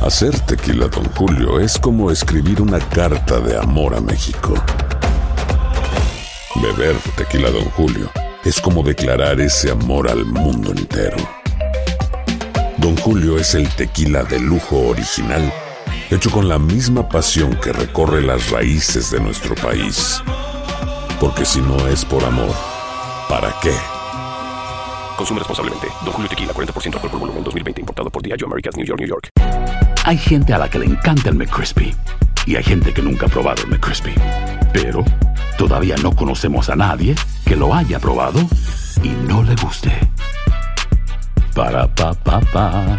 Hacer tequila, Don Julio, es como escribir una carta de amor a México. Beber tequila, Don Julio, es como declarar ese amor al mundo entero. Don Julio es el tequila de lujo original, hecho con la misma pasión que recorre las raíces de nuestro país. Porque si no es por amor, ¿para qué? Consume responsablemente. Don Julio Tequila, 40% alcohol por volumen, 2020. Importado por Diageo Americas, New York, New York. Hay gente a la que le encanta el McCrispy y hay gente que nunca ha probado el McCrispy. Pero todavía no conocemos a nadie que lo haya probado y no le guste. Para pa pa pa.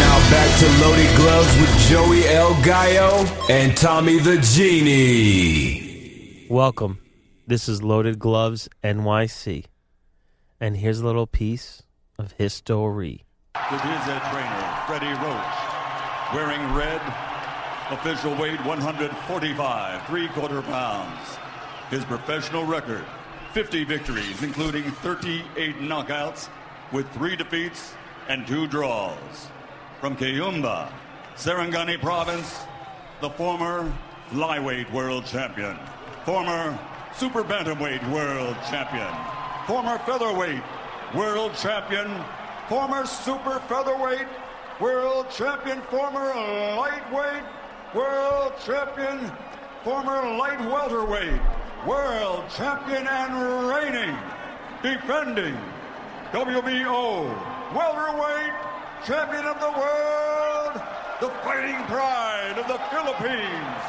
Now back to Loaded Gloves with Joey El Gallo and Tommy the Genie. Welcome. This is Loaded Gloves NYC. And here's a little piece of history. It is head trainer, Freddie Roach, wearing red, official weight 145, three quarter pounds. His professional record 50 victories, including 38 knockouts, with three defeats and two draws. From Kayumba, Sarangani Province, the former flyweight world champion, former super bantamweight world champion, former featherweight world champion, former super featherweight world champion, former lightweight world champion, former light welterweight world champion, and reigning, defending WBO welterweight champion of the world, the fighting pride of the Philippines,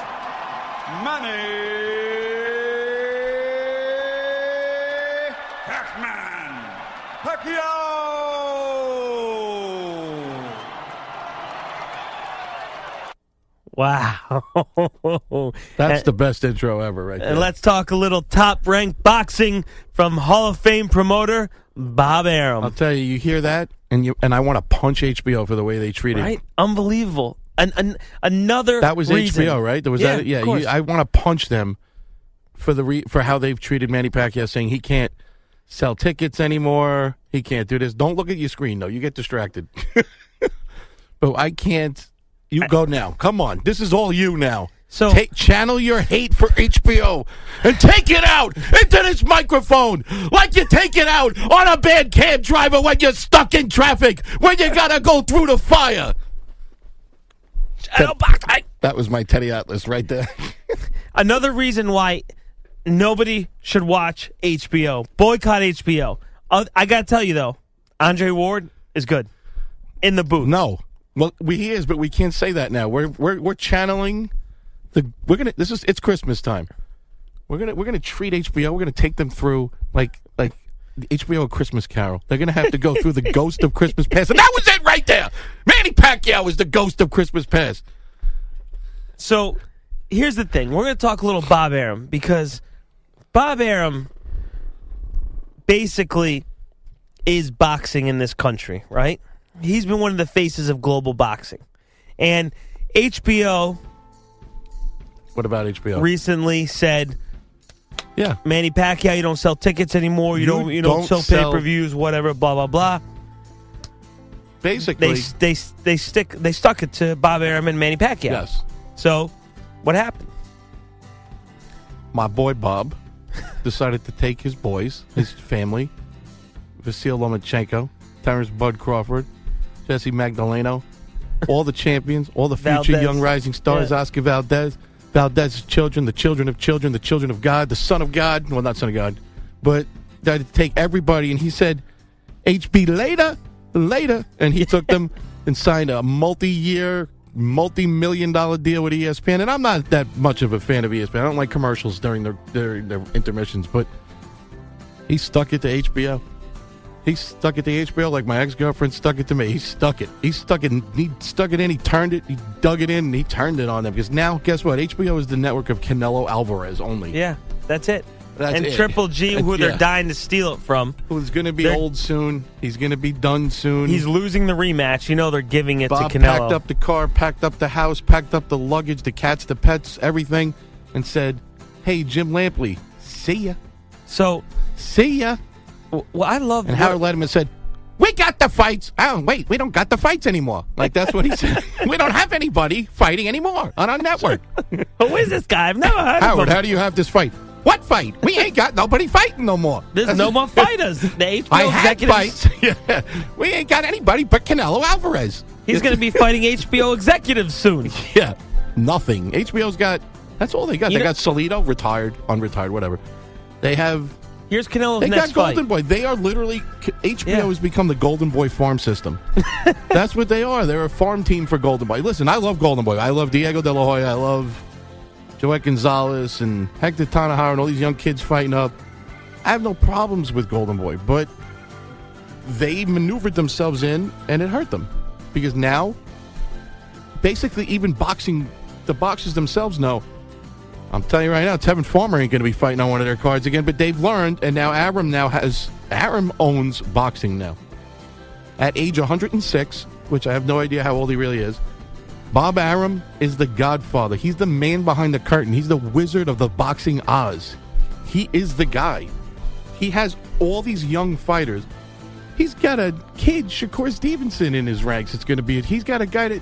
Manny Pacman Pacquiao. Wow. That's the best intro ever, right there. And let's talk a little top ranked boxing from Hall of Fame promoter Bob Arum. I'll tell you, you hear that, and you and I want to punch HBO for the way they treated. Right? Unbelievable. An, an, another That was reason. HBO, right? There was yeah, that. Yeah, of you, course. I want to punch them for the re, for how they've treated Manny Pacquiao, saying he can't sell tickets anymore. He can't do this. Don't look at your screen though; you get distracted. but Oh, I can't. You go now. Come on, this is all you now. So- Take, channel your hate for HBO and take it out into this microphone, like you take it out on a bad cab driver when you're stuck in traffic, when you gotta go through the fire. Oh, box- I- That was my Teddy Atlas right there. another reason why nobody should watch HBO. Boycott HBO. Uh, I got to tell you though, Andre Ward is good in the booth. No. Well, we he is, but we can't say that now. We're we're we're channeling the we're gonna this is it's Christmas time. We're gonna we're gonna treat HBO. We're gonna take them through like like the HBO A Christmas Carol. They're gonna have to go through the ghost of Christmas past, and that was it right there. Manny Pacquiao is the ghost of Christmas past. So here's the thing. We're going to talk a little Bob Arum because Bob Arum basically is boxing in this country, right? He's been one of the faces of global boxing. And HBO What about HBO? recently said, yeah. Manny Pacquiao, you don't sell tickets anymore. You, You don't you don't, don't sell sell- pay per views, whatever. Blah blah blah. They Basically, s they s- they stick they stuck it to Bob Arum and Manny Pacquiao. yes. So what happened? My boy Bob decided to take his boys, his family, Vasil Lomachenko, Terrence Bud Crawford, Jesse Magdaleno, all the champions, all the future Valdez. young rising stars, Yeah. Oscar Valdez, Valdez's children, the children of children, the children of God, the son of God. Well, not son of God, but decided to take everybody. And he said, HB later, later. And he took them and signed a multi year, multi million dollar deal with E ESPN. And I'm not that much of a fan of E ESPN. I don't like commercials during their, their, their intermissions, but he stuck it to HBO. He stuck it to HBO like my ex girlfriend stuck it to me. He stuck it. He stuck it. He stuck it in. He turned it. He dug it in. And he turned it on them because now, guess what? HBO is the network of Canelo Alvarez only. Yeah, that's it. That's and it. Triple G, Uh, who yeah. they're dying to steal it from, Who's going to be They're- old soon? He's going to be done soon. he's losing the rematch. You know they're giving it Bob to Canelo. packed up the car, packed up the house, packed up the luggage, the cats, the pets, everything, and said, "Hey, Jim Lampley, see ya, So see ya." w- well, I love And Howard Letterman said, "We got the fights. Oh, wait, we don't got the fights anymore. Like that's what he said. we don't have anybody fighting anymore on our network. who is this guy? I've never heard Howard, of him. how do you have this fight? What fight? We ain't got nobody fighting no more. There's no more fighters. The HBO I had executives. fights. yeah. We ain't got anybody but Canelo Alvarez. He's going to be fighting HBO executives soon. Yeah, nothing. HBO's got. That's all they got. You they know- got Salido retired, unretired, whatever. They have. Here's Canelo's They next got fight. Golden Boy. They are literally HBO Yeah. has become the Golden Boy farm system. That's what they are. They're a farm team for Golden Boy. Listen, I love Golden Boy. I love Diego De La Hoya. I love Joette Gonzalez and Hector Tanahara and all these young kids fighting up. I have no problems with Golden Boy, but they maneuvered themselves in and it hurt them because now basically even boxing the boxers themselves know i'm telling you right now tevin farmer ain't going to be fighting on one of their cards again but they've learned and now aram now has aram owns boxing now at age 106 which i have no idea how old he really is bob aram is the godfather he's the man behind the curtain he's the wizard of the boxing oz he is the guy he has all these young fighters He's got a kid, Shakur Stevenson, in his ranks. It's going to be. He's got a guy that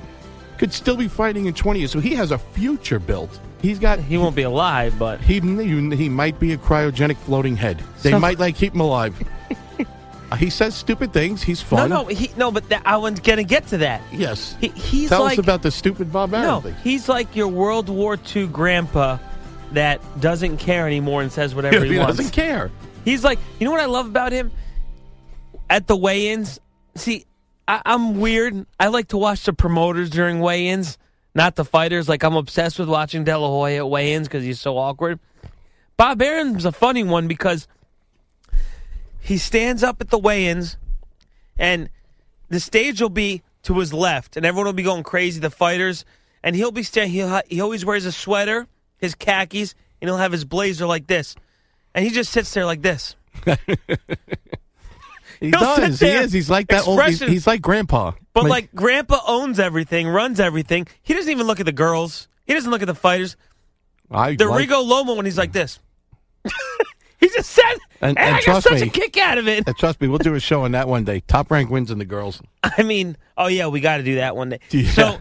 could still be fighting in twenty years, so he has a future built. He's got. He won't be alive, but He he might be a cryogenic floating head. They So- might like keep him alive. Uh, he says stupid things. He's no, fun. no, he, no. But that, I was going to get to that. Yes. He, he's Tell like us about the stupid Bob Arum no. thing. He's like your World War II grandpa that doesn't care anymore and says whatever he, he wants. doesn't care. He's like, you know what I love about him? At the weigh-ins, see, I, I'm weird. I like to watch the promoters during weigh-ins, not the fighters. Like I'm obsessed with watching De La Hoya at weigh-ins because he's so awkward. Bob Aaron's a funny one because he stands up at the weigh-ins, and the stage will be to his left, and everyone will be going crazy. The fighters, and he'll be standing. He'll, ha- he always wears a sweater, his khakis, and he'll have his blazer like this, and he just sits there like this. He He'll sit does. He there, is. He's like that old. He's, expression- he's like Grandpa. But like, Grandpa owns everything, runs everything. He doesn't even look at the girls. He doesn't look at the fighters. I The like- Rigo Lomo when he's like this. he just said, and, And- and I got trust such me- a kick out of it. Uh, Trust me, we'll do a show on that one day. Top rank wins in the girls. I mean, oh yeah, we got to do that one day. Yeah. So,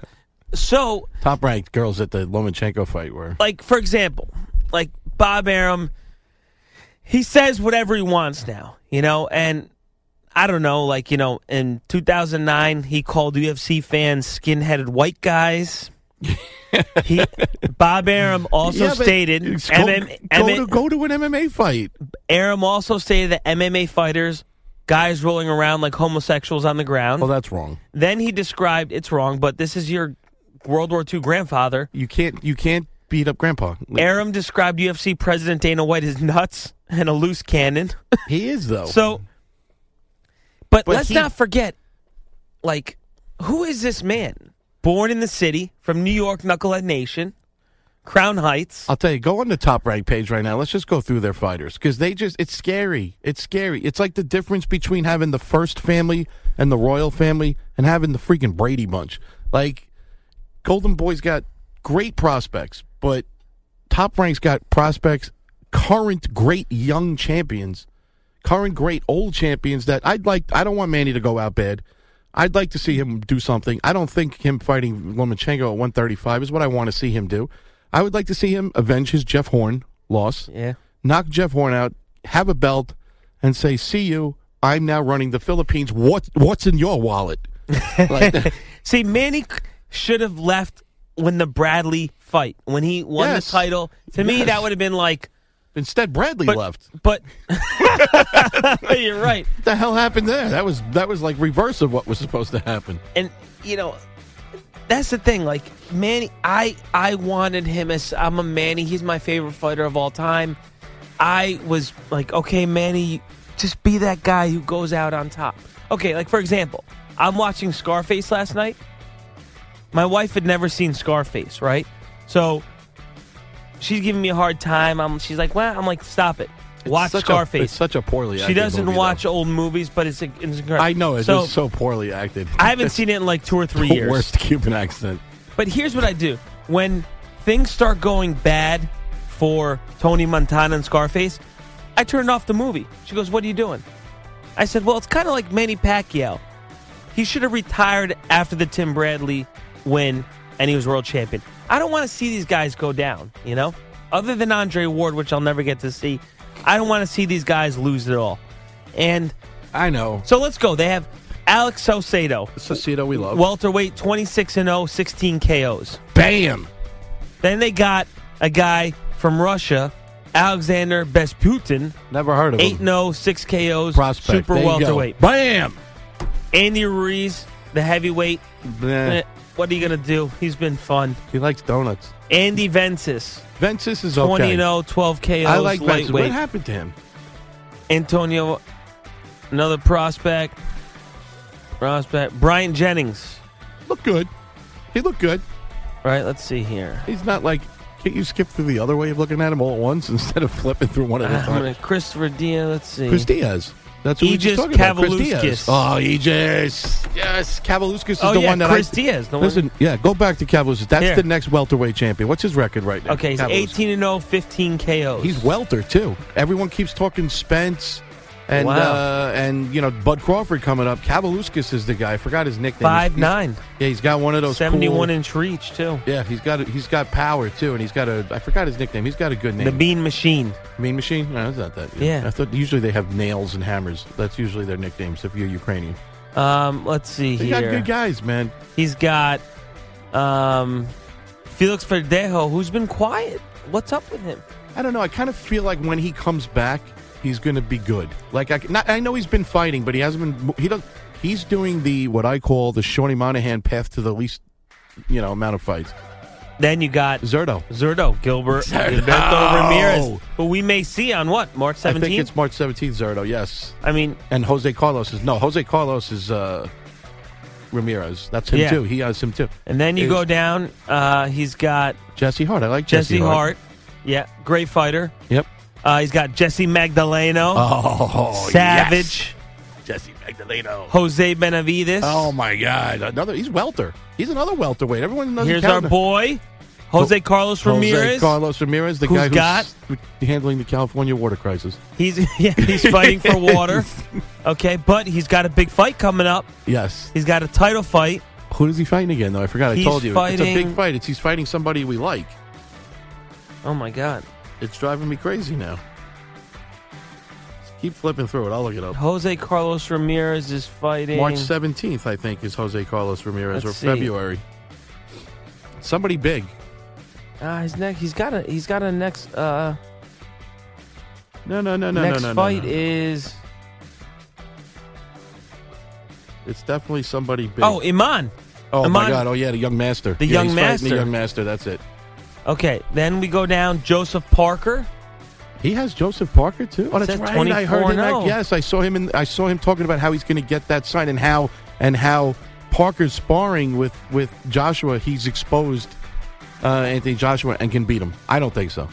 so Top ranked girls at the Lomachenko fight were. like for example, like Bob Arum, he says whatever he wants now, you know, and I don't know, like you know, in 2009 he called UFC fans skinheaded white guys. he, Bob Arum also Yeah, but stated, go, MM, go to, go to an MMA fight. Arum also stated that MMA fighters, guys rolling around like homosexuals on the ground. Well, that's wrong. then he described it's wrong, but this is your World War II grandfather. You can't. You can't beat up Grandpa. Arum described UFC President Dana White as nuts and a loose cannon. He is though. So, but, Oh, But let's he- not forget, like, who is this man? Born in the city from New York, Knucklehead Nation, Crown Heights. I'll tell you. Go on the top rank page right now. Let's just go through their fighters because they just. It's scary. It's scary. It's like the difference between having the first family and the royal family and having the freaking Brady bunch. Like Golden Boy's got great prospects, but Top Rank's got prospects, current great young champions, current great old champions that I'd like. I don't want Manny to go out bad. I'd like to see him do something. I don't think him fighting Lomachenko at 135 is what I want to see him do. I would like to see him avenge his Jeff Horn loss, Yeah. knock Jeff Horn out, have a belt, and say, "See you. I'm now running the Philippines. What what's in your wallet?" See, Manny c- should have left when the Bradley fight, when he won Yes. the title. To me, Yes. that would have been like, Instead, Bradley but, left. But you're right. What the hell happened there? That was that was like reverse of what was supposed to happen. and you know that's the thing like manny i i wanted him as i'm a manny he's my favorite fighter of all time i was like okay manny just be that guy who goes out on top okay like for example i'm watching scarface last night my wife had never seen scarface right so she's giving me a hard time i'm she's like well i'm like stop it watch Such a- it's scarface such a poorly. she acted doesn't movie, watch though. old movies but it's, it's incredible I know it's so so, so poorly acted. i haven't seen it in like two or three the years worst Cuban accent. but here's what I do. When things start going bad for Tony Montana and Scarface, I turn off the movie. She goes, What are you doing? I said, Well, it's kind of like Manny Pacquiao. He should have retired after the Tim Bradley win and he was world champion. I don't want to see these guys go down, you know? Other than Andre Ward, which I'll never get to see, I don't want to see these guys lose at all. And I know. so let's go. They have Alex Saucedo, Sosito, we love. welterweight 26 and oh, 0, 16 KOs. bam. Then they got a guy from Russia, Alexander Besputin, oh, Never heard of 8 him. 0, 6 KOs, Prospect. super There you go. welterweight. Bam. Andy Ruiz, the heavyweight. Eh, Nah, What are you going to do? He's been fun. he likes donuts. Andy Vences, Vences is 20 okay. 0, 12 KOs, I like Vences. What lightweight. happened to him? Antonio, another prospect. Prospect. Brian Jennings. Look good. He looked good. Right, let's see here. He's not like. Can't you skip through the other way of looking at him all at once instead of flipping through one at a I'm time? gonna- Uh, Christopher Dia, let's see. Chris Diaz. That's who we were just Mm-hmm. Aegis talking Kavalauskas. about. Chris Diaz. Oh, Aegis. Yes, Kavaluskas is oh, the yeah, one that Chris I. Diaz, the one Listen, yeah, go back to Kavaluskas. That's Here. the next welterweight champion. What's his record right now? Okay, he's Kavaluskas. 18 and oh, 0, 15 KOs. He's welter too. Everyone keeps talking Spence and Wow. uh, and you know Bud Crawford coming up. Kavaluskas is the guy. I forgot his nickname. five He's- nine, Yeah, he's got one of those seventy one 71 cool- inch reach too. yeah, he's got a, he's got power too, and he's got a I forgot his nickname. He's got a good name. The Bean Machine. Mean Machine? No, it's not that. Yeah. I thought usually they have nails and hammers. That's usually their nicknames if you're Ukrainian. Um, let's see They here. got good guys, man. He's got um, Felix Verdejo, who's been quiet. What's up with him? I don't know. I kind of feel like when he comes back, he's going to be good. Like I, not, I know he's been fighting, but he hasn't been. He does. He's doing the what I call the Shawnee Monahan path to the least, you know, amount of fights. Then you got Zerto. Zerdo, Gilbert, Zurdo. Gilberto Ramirez, who we may see on what, March I think 17th? it's March 17th. Zerto. Yes. I, mean, And Jose Carlos is no. Jose Carlos is uh, Ramirez. That's him Yeah. too. He has him too. and then you Is- go down. Uh, he's got Jesse Hart. I like Jesse, Jesse, Hart. Yeah, great fighter. Yep. Uh, he's got Jesse Magdaleno, Oh, Savage, yes. Jesse Magdaleno. Jose Benavides. Oh my God! Another. He's welter. He's another welterweight. Everyone knows. he Here's counted- our boy, Jose Carlos Ramirez. Jose Carlos Ramirez, the Who's guy who's got- who's handling the California water crisis. He's yeah, he's fighting for water. Okay, but he's got a big fight coming up. Yes. He's got a title fight. Who is he fighting again, though? I forgot. I He's told you. It's a fighting- big fight. It's he's fighting somebody we like. Oh my god, It's driving me crazy now. Just keep flipping through it. I'll look it up. Jose Carlos Ramirez is fighting. March seventeenth, I think, is Jose Carlos Ramirez, Let's or see. February. Somebody big. Ah, his neck. He's got a. He's got a next. Uh, No, no, no, no, next no, no, no, fight no. is. It's definitely somebody big. Oh, Iman. oh my Iman- God! Oh yeah, the young master. The Yeah, young he's fighting master. The young master. That's it. Okay, then we go down. Joseph Parker. He has Joseph Parker too. Oh, that's Said right. I heard him. 24-0. act- Yes, I saw him. In, I saw him talking about how he's going to get that sign and how and how Parker's sparring with with Joshua. He's exposed uh, Anthony Joshua and can beat him. I don't think so.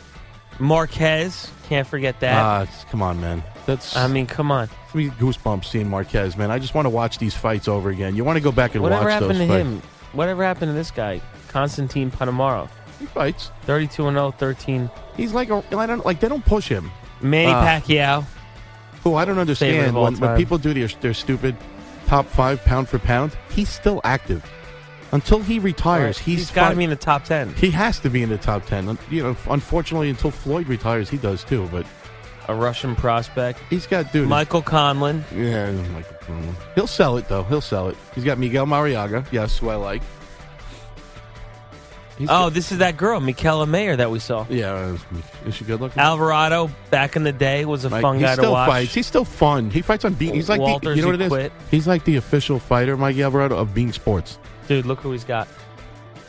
Marquez. Can't forget that. Ah, it's- come on, man. That's I mean, come on. gives me goosebumps seeing Marquez, man. I just want to watch these fights over again. You want to go back and Whatever watch happened to those fights. him? Whatever happened to this guy, Constantine Panamaro? He fights. 32 and oh, 0, 13. He's like a, I don't like they don't push him. Manny Uh, Pacquiao. Who I don't Favorite of understand all when, when time. people do their their stupid top five pound for pound. He's still active until he retires. He's, he's got to fight- be in the top 10. He has to be in the top ten. Un- You know, unfortunately, until Floyd retires, he does too. But A Russian prospect. he's got dude. Michael Conlon. Yeah, I don't like the promo. He'll sell it though. He'll sell it. He's got Miguel Mariaga. Yes, who I like. He's Oh, got- this is that girl, Michaela Mayer, that we saw. yeah. uh, Is she good looking? Alvarado, back in the day, was a Like, fun he guy still to watch. fights. He's still fun. He fights on beat. He's like Walters, the, you know he what it is. quit. He's like the official fighter, Mike Alvarado of Being Sports. Dude, look who he's got.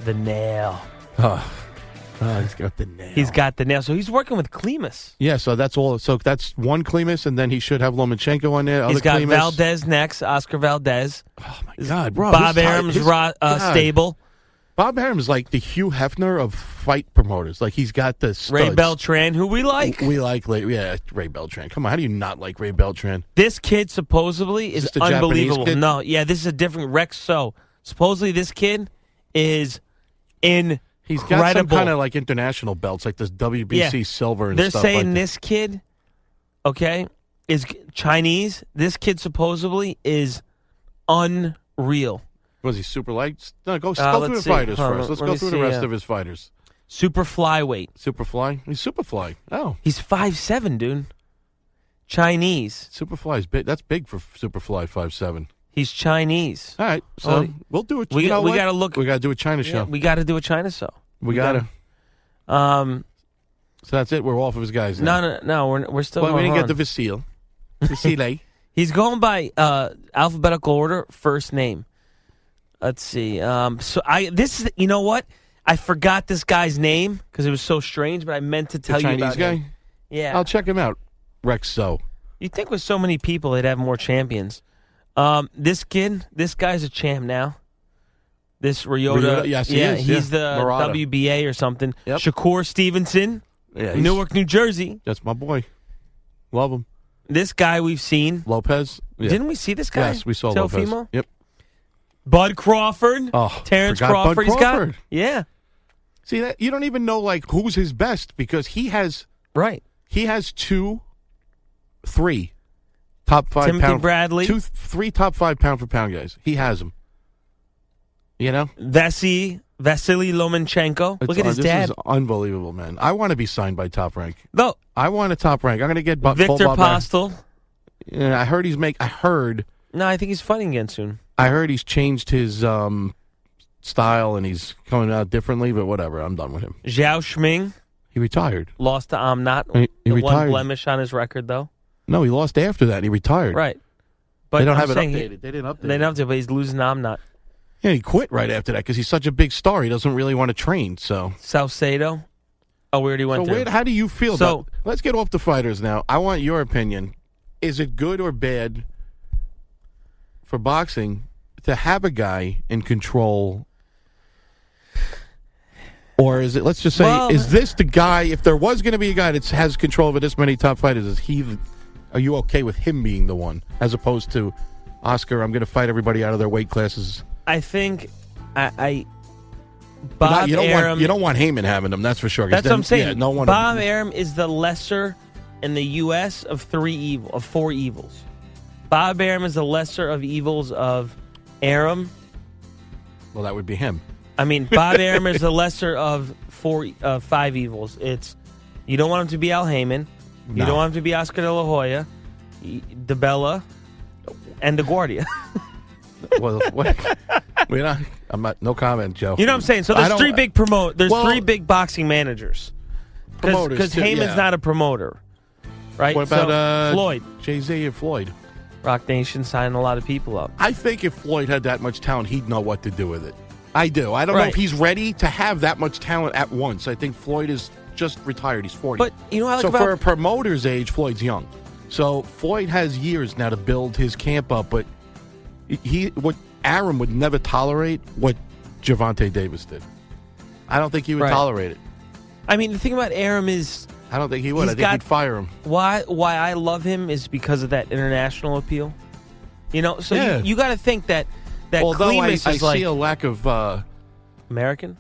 The nail. Oh, he's got the nail. He's got the nail. So he's working with Klimas. yeah. So that's all. So that's one Klimas, and then he should have Lomachenko on there. Other He's got Klimas. Valdez next, Oscar Valdez. Oh my God, bro, Bob this guy- Arum's his- ro- uh, God. stable. Bob Arum's like the Hugh Hefner of fight promoters. Like he's got the studs. Ray Beltran, who we like. We like, like yeah, Ray Beltran. Come on, how do you not like Ray Beltran? This kid supposedly is this the Japanese unbelievable. kid? No, yeah, this is a different Rex. So supposedly this kid is in. He's got some kind of like international belts, like this WBC silver and They're stuff. saying like that. this kid, okay, is Chinese. This kid supposedly is unreal. Was he super light? No, go, Uh, go let's through the see. fighters Hold on, first. Let's let go me through the see, rest uh, of his fighters. Super flyweight. Superfly, he's Superfly. Oh, He's five seven, dude. Chinese. Superfly is big. That's big for Superfly five seven. He's Chinese. All right, so Well, we'll do it. we you got- know we what? gotta look- We got to do a China show. We got to do a China show. we got to. gotta- Um, So that's it. We're off of his guys. no, Now. no, no. We're we're still. Well, we going didn't on. get the eh? Vasile. Vasile. He's going by uh, alphabetical order, first name. Let's see. Um, so I this is you know what I forgot this guy's name because it was so strange, but I meant to the tell you Chinese about guy. him. Yeah, I'll check him out. Rex So. you think with so many people they'd have more champions. Um, this kid, this guy's a champ now. This Ryota, Ryota, yes, he yeah, is, he's yeah. the Murata. WBA or something. Yep. Shakur Stevenson, Yeah, he's- Newark, New Jersey. That's my boy. Love him. This guy we've seen. Lopez. Yeah. Didn't we see this guy? Yes, we saw Lopez. Teofimo? Yep. Bud Crawford. Oh, Terrence forgot Bud Crawford. He's got Crawford. yeah, See that you don't even know like who's his best because he has right. he has two, three, top five Timothy pound- Bradley. two three top five pound for pound guys. He has them. You know, Vasi Vasily Lomachenko. Look It's- at uh, his this dad. is unbelievable, man. I want to be signed by Top Rank. No, I want a Top Rank. I'm going to get Bu- Victor Bob back. Postel. Yeah, I heard he's make. I heard. No, I think he's fighting again soon. I heard he's changed his um, style and he's coming out differently. But whatever, I'm done with him. Zhao Shming He retired. lost to Amnat. He- he the one retired. blemish on his record, though. No, he lost after that. and He retired. Right. But they don't I'm have it saying he- updated. they didn't update. They don't have to, but he's losing to Amnat. Yeah, he quit right after that because he's such a big star. He doesn't really want to train. So, Salcedo. Oh, we already so went wait, there. how do you feel? So- about, let's get off the fighters now. I want your opinion. Is it good or bad for boxing to have a guy in control? Or is it? Let's just say, Well- is this the guy? If there was going to be a guy that has control over this many top fighters, is he? the- Are you okay with him being the one as opposed to Oscar? I'm going to fight everybody out of their weight classes. I think I. I But Bob not- you don't Arum- want you don't want Heyman having them. That's for sure. 'cause That's what then- I'm saying. yeah, no one. Bob Arum is the lesser in the U.S. of three evil of four evils. Bob Arum is the lesser of evils of Arum. well, that would be him. I mean, Bob Arum is the lesser of four uh, five evils. It's you don't want him to be Al Heyman. You No. don't want him to be Oscar De La Hoya, y- DeBella, and DeGuardia. Well, what, we're not. I'm not. No comment, Joe. You know what I'm saying? So I there's don't- three big promote. There's Well- three big boxing managers. Promoters, Because too, Heyman's yeah. not a promoter, right? What about So, uh, Floyd? Jay Z and Floyd? Rock Nation signing a lot of people up. I think if Floyd had that much talent, he'd know what to do with it. I do. I don't know Right. if he's ready to have that much talent at once. I think Floyd is just retired. He's 40. But you know what I like so about- for a promoter's age, Floyd's young. So Floyd has years now to build his camp up. But he, what Aaron would never tolerate what Javante Davis did. I don't think he would Right. tolerate it. I mean, the thing about Aram is I don't think he would. He's I think got- he'd fire him. why why I love him is because of that international appeal. You know, so Yeah. you, you got to think that that Although I, Klimas I is like see a lack of uh, American.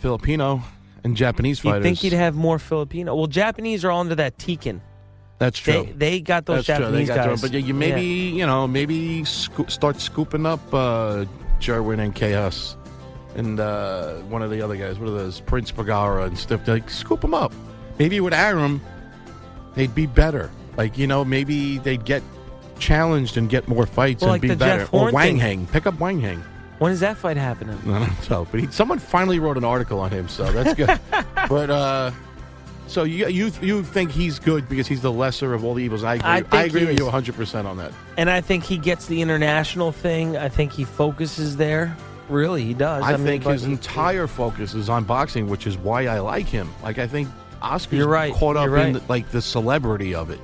Filipino and Japanese You fighters. think he'd have more Filipino? Well, Japanese are all under that Tekken. That's They true. they got those That's true. They Japanese got guys. thrown, but you, you maybe Yeah. you know maybe sco- start scooping up uh, Jerwin and Chaos and uh, one of the other guys. What are those Prince Pagara and stuff? Like scoop them up. Maybe with Aram, they'd be better. Like you know maybe they'd get challenged and get more fights Well, like and be the Jeff better. or Horn Wang thing. Hang, pick up Wang Hang. When is that fight happening? I don't know, but he, someone finally wrote an article on him, so that's good. but uh, so you you you think he's good because he's the lesser of all the evils? I agree, I I, think agree he with you is. 100 percent on that. And I think he gets the international thing. I think he focuses there. Really, he does. I, mean, think but his he- entire focus is on boxing, which is why I like him. Like I think Oscar's You're right, caught up you're in right. like the celebrity of it,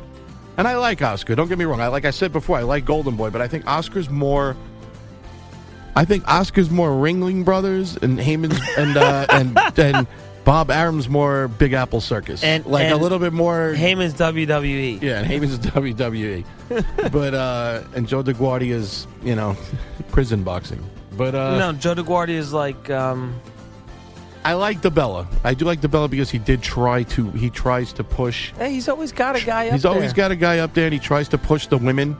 and I like Oscar. Don't get me wrong. I like I said before, I like Golden Boy, but I think Oscar's more. I think Oscar's more Ringling Brothers and Heyman's and uh, and and Bob Arum's more Big Apple Circus, And- like a and little bit more. Heyman's E. WWE. yeah, and Heyman's WWE, but uh, and Joe DeGuardia's you know prison boxing. But uh, No, Joe DeGuardi is like um, I like DeBella. I do like DeBella because he did try to. He tries to push. hey, he's always got a guy. Up He's always there. got a guy up there, and he tries to push the women.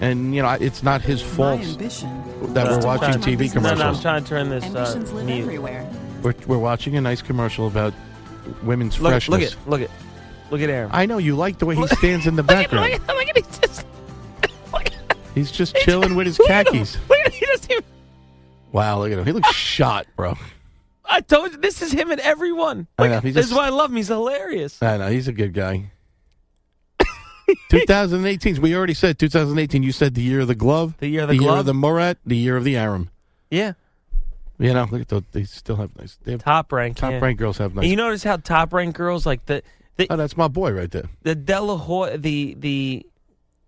And you know, I- it's not his fault that we're watching trying- TV No, no, I'm commercials. trying to turn this. Uh, mute. We're, we're watching a nice commercial about women's Look, freshness. look at look at look at Aaron. I know you like the way he stands in the background. at- look at he just He's just chilling with his khakis. look at he doesn't even. Wow, look at him. He looks shot, bro. I told you this is him and everyone. I Look, know, he this just- Uh, is why I love him. He's hilarious. I know he's a good guy. 2018. We already said 2018. You said the year of the glove, The year of the year glove. of the Murat, the year of the Aram. Yeah, You know, look at those. They still have nice. They have top, top rank. yeah. ranked girls have nice. And you notice how top rank girls like the the oh, that's my boy right there. the Delahoy the the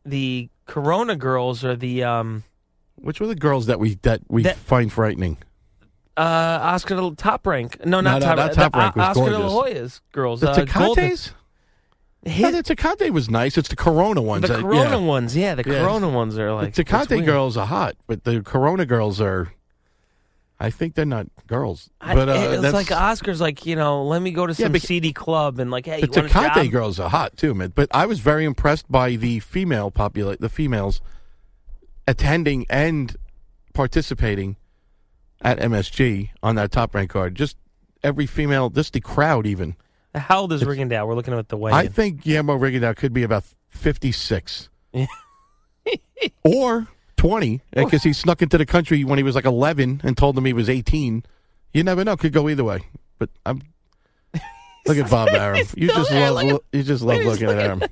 the Corona girls are the um Which were the girls that we that we That- find frightening? uh Oscar De- top rank. No, No, no, not top, not the Top Rank O- was Oscar De La gorgeous. Hoya's girls. The uh, Golden- Tecates. No, the Tecate was nice. It's the Corona ones. the that- Corona yeah. ones, yeah, the Yeah. Corona ones are like the it's Tecate weird. girls are hot, but the Corona girls are. I think they're not girls, I- but uh, it's that's, like Oscar's, like you know, let me go to Yeah, some but- CD club and like, hey, the you want a job? Tecate girls are hot too, man. But I was very impressed by the female popula the females attending and participating at MSG on that top rank card. Just every female, just the crowd even. How old is Rigondeaux? We're looking at the way. I think Guillermo Rigondeaux could be about 56 Yeah. or 20 because he snuck into the country when he was like 11 and told them he was 18. You never know; could go either way. But I'm look at Bob Arum. still You just there. love Look at- lo- you just love look at- looking at look at Arum.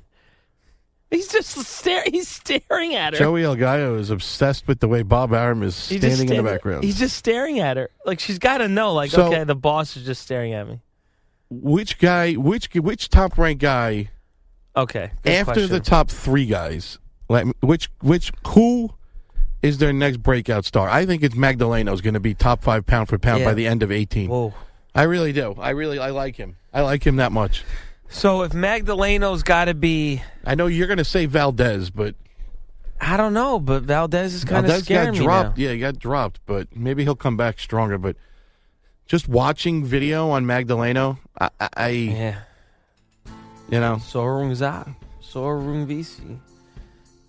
he's just staring. He's staring at her. Joey Elgaio is obsessed with the way Bob Arum is He's standing just in the standing- background. He's just staring at her. Like she's got to know. Like So- okay, the boss is just staring at me. which guy? Which which top ranked guy? Okay. good after the question. top three guys, let me, which which who is their next breakout star? I think it's Magdaleno is going to be top five pound for pound by Yeah. the end of eighteen. Whoa. I really do. I really I like him. I like him that much. So if Magdaleno's got to be, I know you're going to say Valdez, but I don't know, but Valdez is kind of Valdez scaring got me dropped. now. Yeah, he got dropped, but maybe he'll come back stronger. But just watching video on Magdaleno, I, I, I Yeah. you know Sorung Za, Sorung Visi.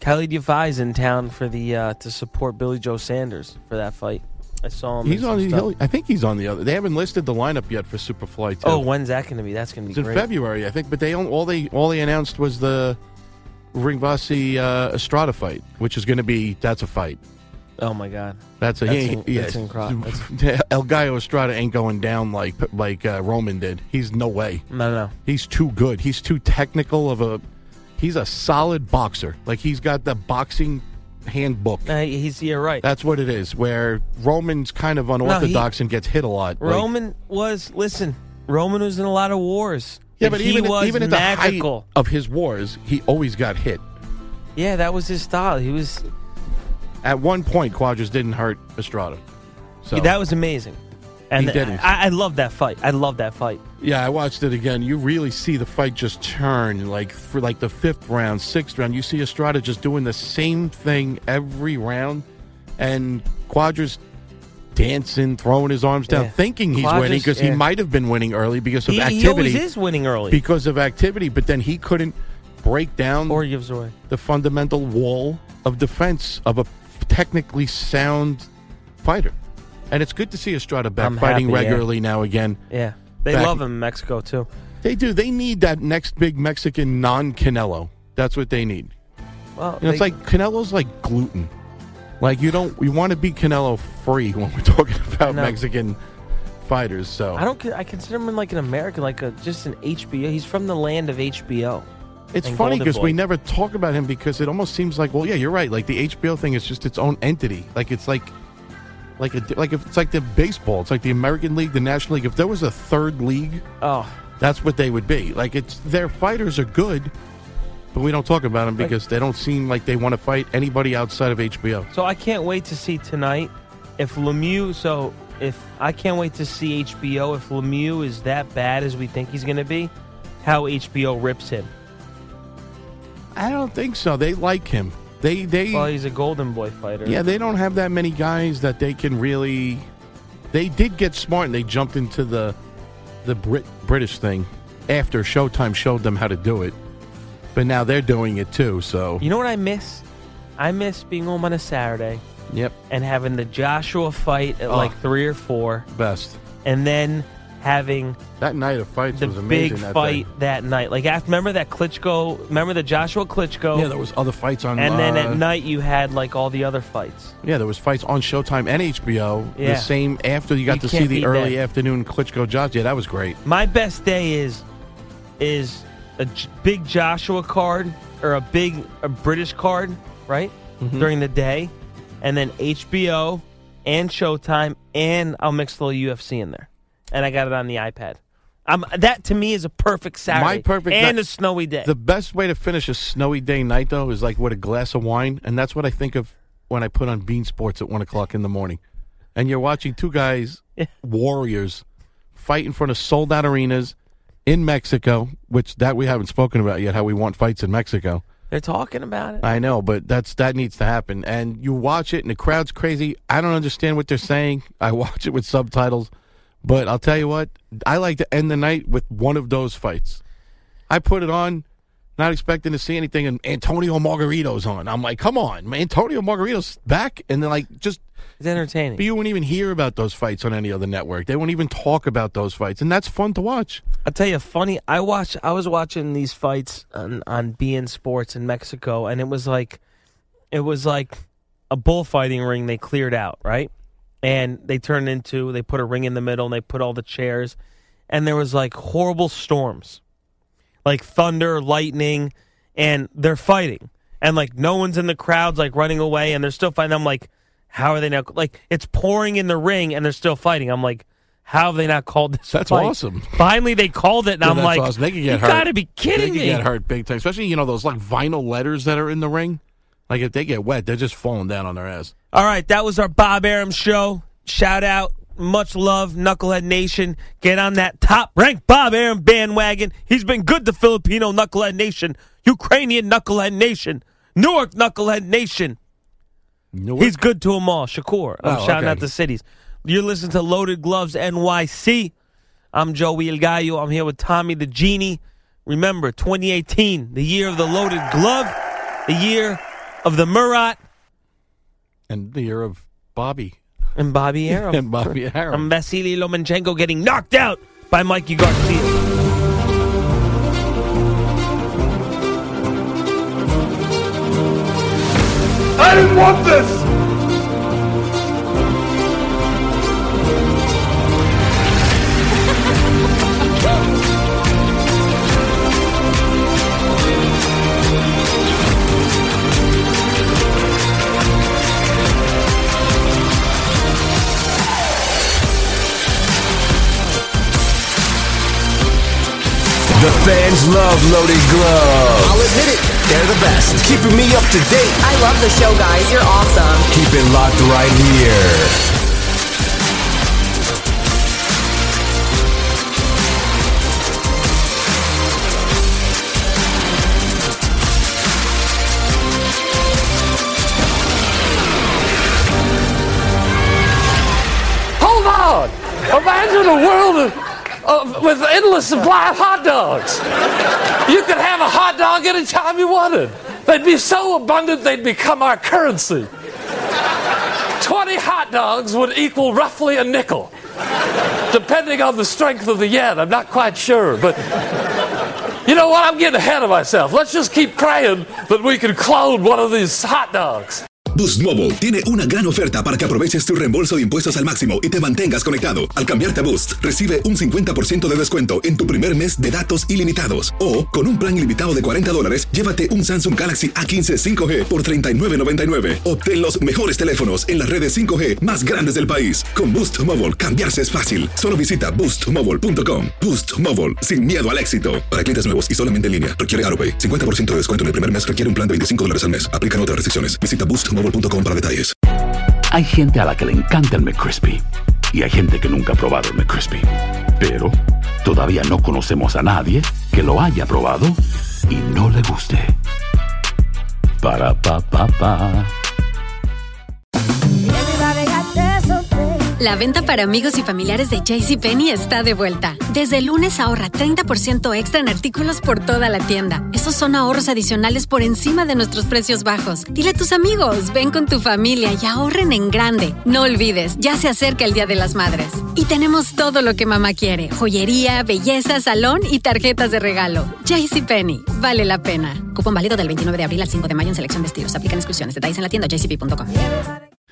Kelly Defy's in town for the uh, to support Billy Joe Sanders for that fight. I saw him. in he's some on. stuff. He'll, I think he's on the other. They haven't listed the lineup yet for Superfly. Too. Oh, when's that going to be? That's going to It's be in great. February, I think. But they on- all they all they announced was the Ringvasi uh, Estrada fight, which is going to be that's a fight. Oh my God. That's a That's he- in- yeah. that's incro- El Gallo Estrada ain't going down like like uh, Roman did. He's no way. No, no. He's too good. He's too technical of a. He's a solid boxer. Like he's got the boxing handbook. no. Uh, he's yeah, right. That's what it is. Where Roman's kind of unorthodox and gets hit a lot. Like, Roman was listen. Roman was in a lot of wars. yeah, and but he even was even at the height magical. of his wars, he always got hit. Yeah, that was his style. He was At one point, Quadras didn't hurt Estrada. So that was amazing. And He didn't. I, I love that fight. I love that fight. yeah, I watched it again. You really see the fight just turn, like for like the fifth round, sixth round. You see Estrada just doing the same thing every round, and Quadras dancing, throwing his arms down, Yeah. thinking he's Clodgers, winning because yeah. he might have been winning early because of He, he activity. always is winning early. Because of activity, but then he couldn't break down or he gives away. the fundamental wall of defense of a technically sound fighter. And it's good to see Estrada back I'm fighting happy, yeah. regularly now again. Yeah. They Back- love him in Mexico, too. They do. They need that next big Mexican non Canelo. That's what they need. Well, You know, it's they- like Canelo's like gluten. Like you don't you want to be Canelo free when we're talking about No. Mexican fighters. So I don't. con- I consider him like an American, like a just an HBO. He's from the land of HBO. it's and funny Golden because Boy. we never talk about him because it almost seems like well yeah you're right like the HBO thing is just its own entity like it's like like a, like if it's like the baseball it's like the American League the National League if there was a third league Oh, that's what they would be like it's their fighters are good but we don't talk about them because they don't seem like they want to fight anybody outside of HBO so I can't wait to see tonight if Lemieux. So if I can't wait to see HBO if Lemieux is that bad as we think he's going to be, how HBO rips him. I don't think so they like him they they Well, he's a Golden Boy fighter. Yeah, they don't have that many guys that they can really. They did get smart and they jumped into the the Brit British thing after Showtime showed them how to do it, but now they're doing it too. So You know what I miss? I miss being home on a Saturday yep, and having the Joshua fight at Oh. like three or four, best and then having that night of fights the was amazing. big that fight day. that night. Like, after, remember that Klitschko? Remember the Joshua Klitschko? Yeah, there was other fights on. and then uh, at night you had like all the other fights. yeah, there was fights on Showtime and HBO. Yeah. The same after you got You to see can't beat the early that. afternoon Klitschko Josh. Yeah, that was great. My best day is is a J- big Joshua card or a big a British card, right? Mm-hmm. During the day, and then HBO and Showtime, and I'll mix a little UFC in there, and I got it on the iPad. Um, that to me is a perfect Saturday, My perfect and night- a snowy day. The best way to finish a snowy day night, though, is like with a glass of wine, and that's what I think of when I put on Bean Sports at one o'clock in the morning. And you're watching two guys, Yeah. warriors, fight in front of sold out arenas in Mexico, which that we haven't spoken about yet. How we want fights in Mexico, They're talking about it. I know, but that's that needs to happen. And you watch it, and the crowd's crazy. I don't understand what they're saying. I watch it with subtitles, but I'll tell you what, I like to end the night with one of those fights. I put it on, not expecting to see anything, and Antonio Margarito's on. I'm like, come on, Antonio Margarito's back, and then like just It's entertaining. you wouldn't even hear about those fights on any other network. They won't even talk about those fights, and that's fun to watch. I'll tell you, a funny. I watch. I was watching these fights on on BN Sports in Mexico, and it was like, it was like a bullfighting ring they cleared out, right? And they turned into they put a ring in the middle, and they put all the chairs, and there was like horrible storms, like thunder, lightning, and they're fighting, and like no one's in the crowds, like running away, and they're still fighting. I'm like, how are they now? Like it's pouring in the ring, and they're still fighting. I'm like. How have they not called this? That's fight? awesome. Finally, they called it, and Yeah, I'm that's like, awesome. they could get "You hurt. gotta be kidding they me!" Could get hurt big time, especially you know those like vinyl letters that are in the ring. Like if they get wet, they're just falling down on their ass. All right, that was our Bob Arum show. Shout out, much love, Knucklehead Nation. Get on that top ranked Bob Arum bandwagon. He's been good to Filipino Knucklehead Nation, Ukrainian Knucklehead Nation, Newark Knucklehead Nation. Newark. He's good to them all. Shakur. I'm Oh, shouting okay. out the cities. You're listening to Loaded Gloves NYC. I'm Joey El Gallo. I'm here with Tommy the Genie. Remember, 2018, the year of the loaded glove, the year of the Murat and the year of Bobby and Bobby Arum. and Bobby Harum. I'm Vasily Lomachenko getting knocked out by Mikey Garcia. I didn't want this! The fans love loaded gloves. I'll admit it, they're the best. Keeping me up to date. I love the show, guys. You're awesome. Keep it locked right here. a world of, of, with endless supply of hot dogs. You could have a hot dog anytime you wanted. They'd be so abundant they'd become our currency. 20 hot dogs would equal roughly a nickel, depending on the strength of the yen. I'm not quite sure, but you know what? I'm getting ahead of myself. Let's just keep praying that we can clone one of these hot dogs. Boost Mobile tiene una gran oferta para que aproveches tu reembolso de impuestos al máximo y te mantengas conectado. Al cambiarte a Boost, recibe un 50% de descuento en tu primer mes de datos ilimitados. O, con un plan ilimitado de 40 dólares, llévate un Samsung Galaxy A15 5G por $39.99. Obtén los mejores teléfonos en las redes 5G más grandes del país. Con Boost Mobile, cambiarse es fácil. Solo visita boostmobile.com. Boost Mobile, sin miedo al éxito. Para clientes nuevos y solamente en línea, requiere AroPay. 50% de descuento en el primer mes requiere un plan de 25 dólares al mes. Aplican otras restricciones. Visita Boost Mobile.com para detalles. Hay gente a la que le encanta el McCrispy y hay gente que nunca ha probado el McCrispy. Pero todavía no conocemos a nadie que lo haya probado y no le guste. Para pa pa pa. La venta para amigos y familiares de JCPenney está de vuelta. Desde el lunes ahorra 30% extra en artículos por toda la tienda. Esos son ahorros adicionales por encima de nuestros precios bajos. Dile a tus amigos, ven con tu familia y ahorren en grande. No olvides, ya se acerca el Día de las Madres. Y tenemos todo lo que mamá quiere: joyería, belleza, salón y tarjetas de regalo. JCPenney, vale la pena. Cupón válido del 29 de abril al 5 de mayo en selección de estilos. Aplican exclusiones. Detalles en la tienda jcp.com.